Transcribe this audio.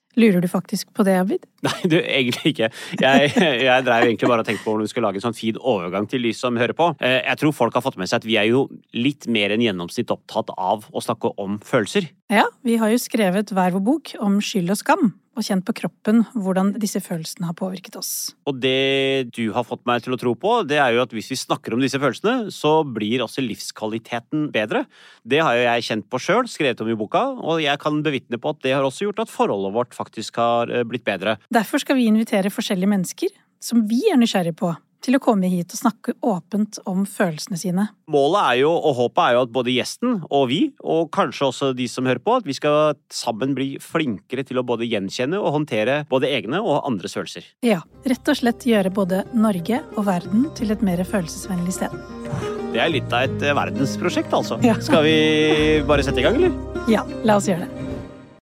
Lurer du faktisk på det, Abid? Nei, du, egentlig ikke. Jeg, jeg drev egentlig bare og tenkte på hvordan vi skulle lage en sånn fin overgang til de som hører på. Eh, Jeg tror folk har fått med seg at vi er jo litt mer enn gjennomsnitt opptatt av å snakke om følelser. Ja, vi har jo skrevet hver vår bok om skyld og skam, og kjent på kroppen hvordan disse følelsene har påvirket oss. Og det du har fått meg til å tro på, det er jo at hvis vi snakker om disse følelsene, så blir også livskvaliteten bedre. Det har jo jeg kjent på sjøl, skrevet om i boka, og jeg kan bevitne på at det har også gjort at forholdet vårt faktisk har eh, blitt bedre. Derfor skal vi invitere forskjellige mennesker som vi er nysgjerrige på, til å komme hit og snakke åpent om følelsene sine. Målet er jo, og håpet er jo at både gjesten og vi, og kanskje også de som hører på, at vi skal sammen bli flinkere til å både gjenkjenne og håndtere både egne og andres følelser. Ja, rett og slett gjøre både Norge og verden til et mer følelsesvennlig sted. Det er litt av et eh, verdensprosjekt, altså. Ja. Skal vi bare sette i gang, eller? Ja, la oss gjøre det.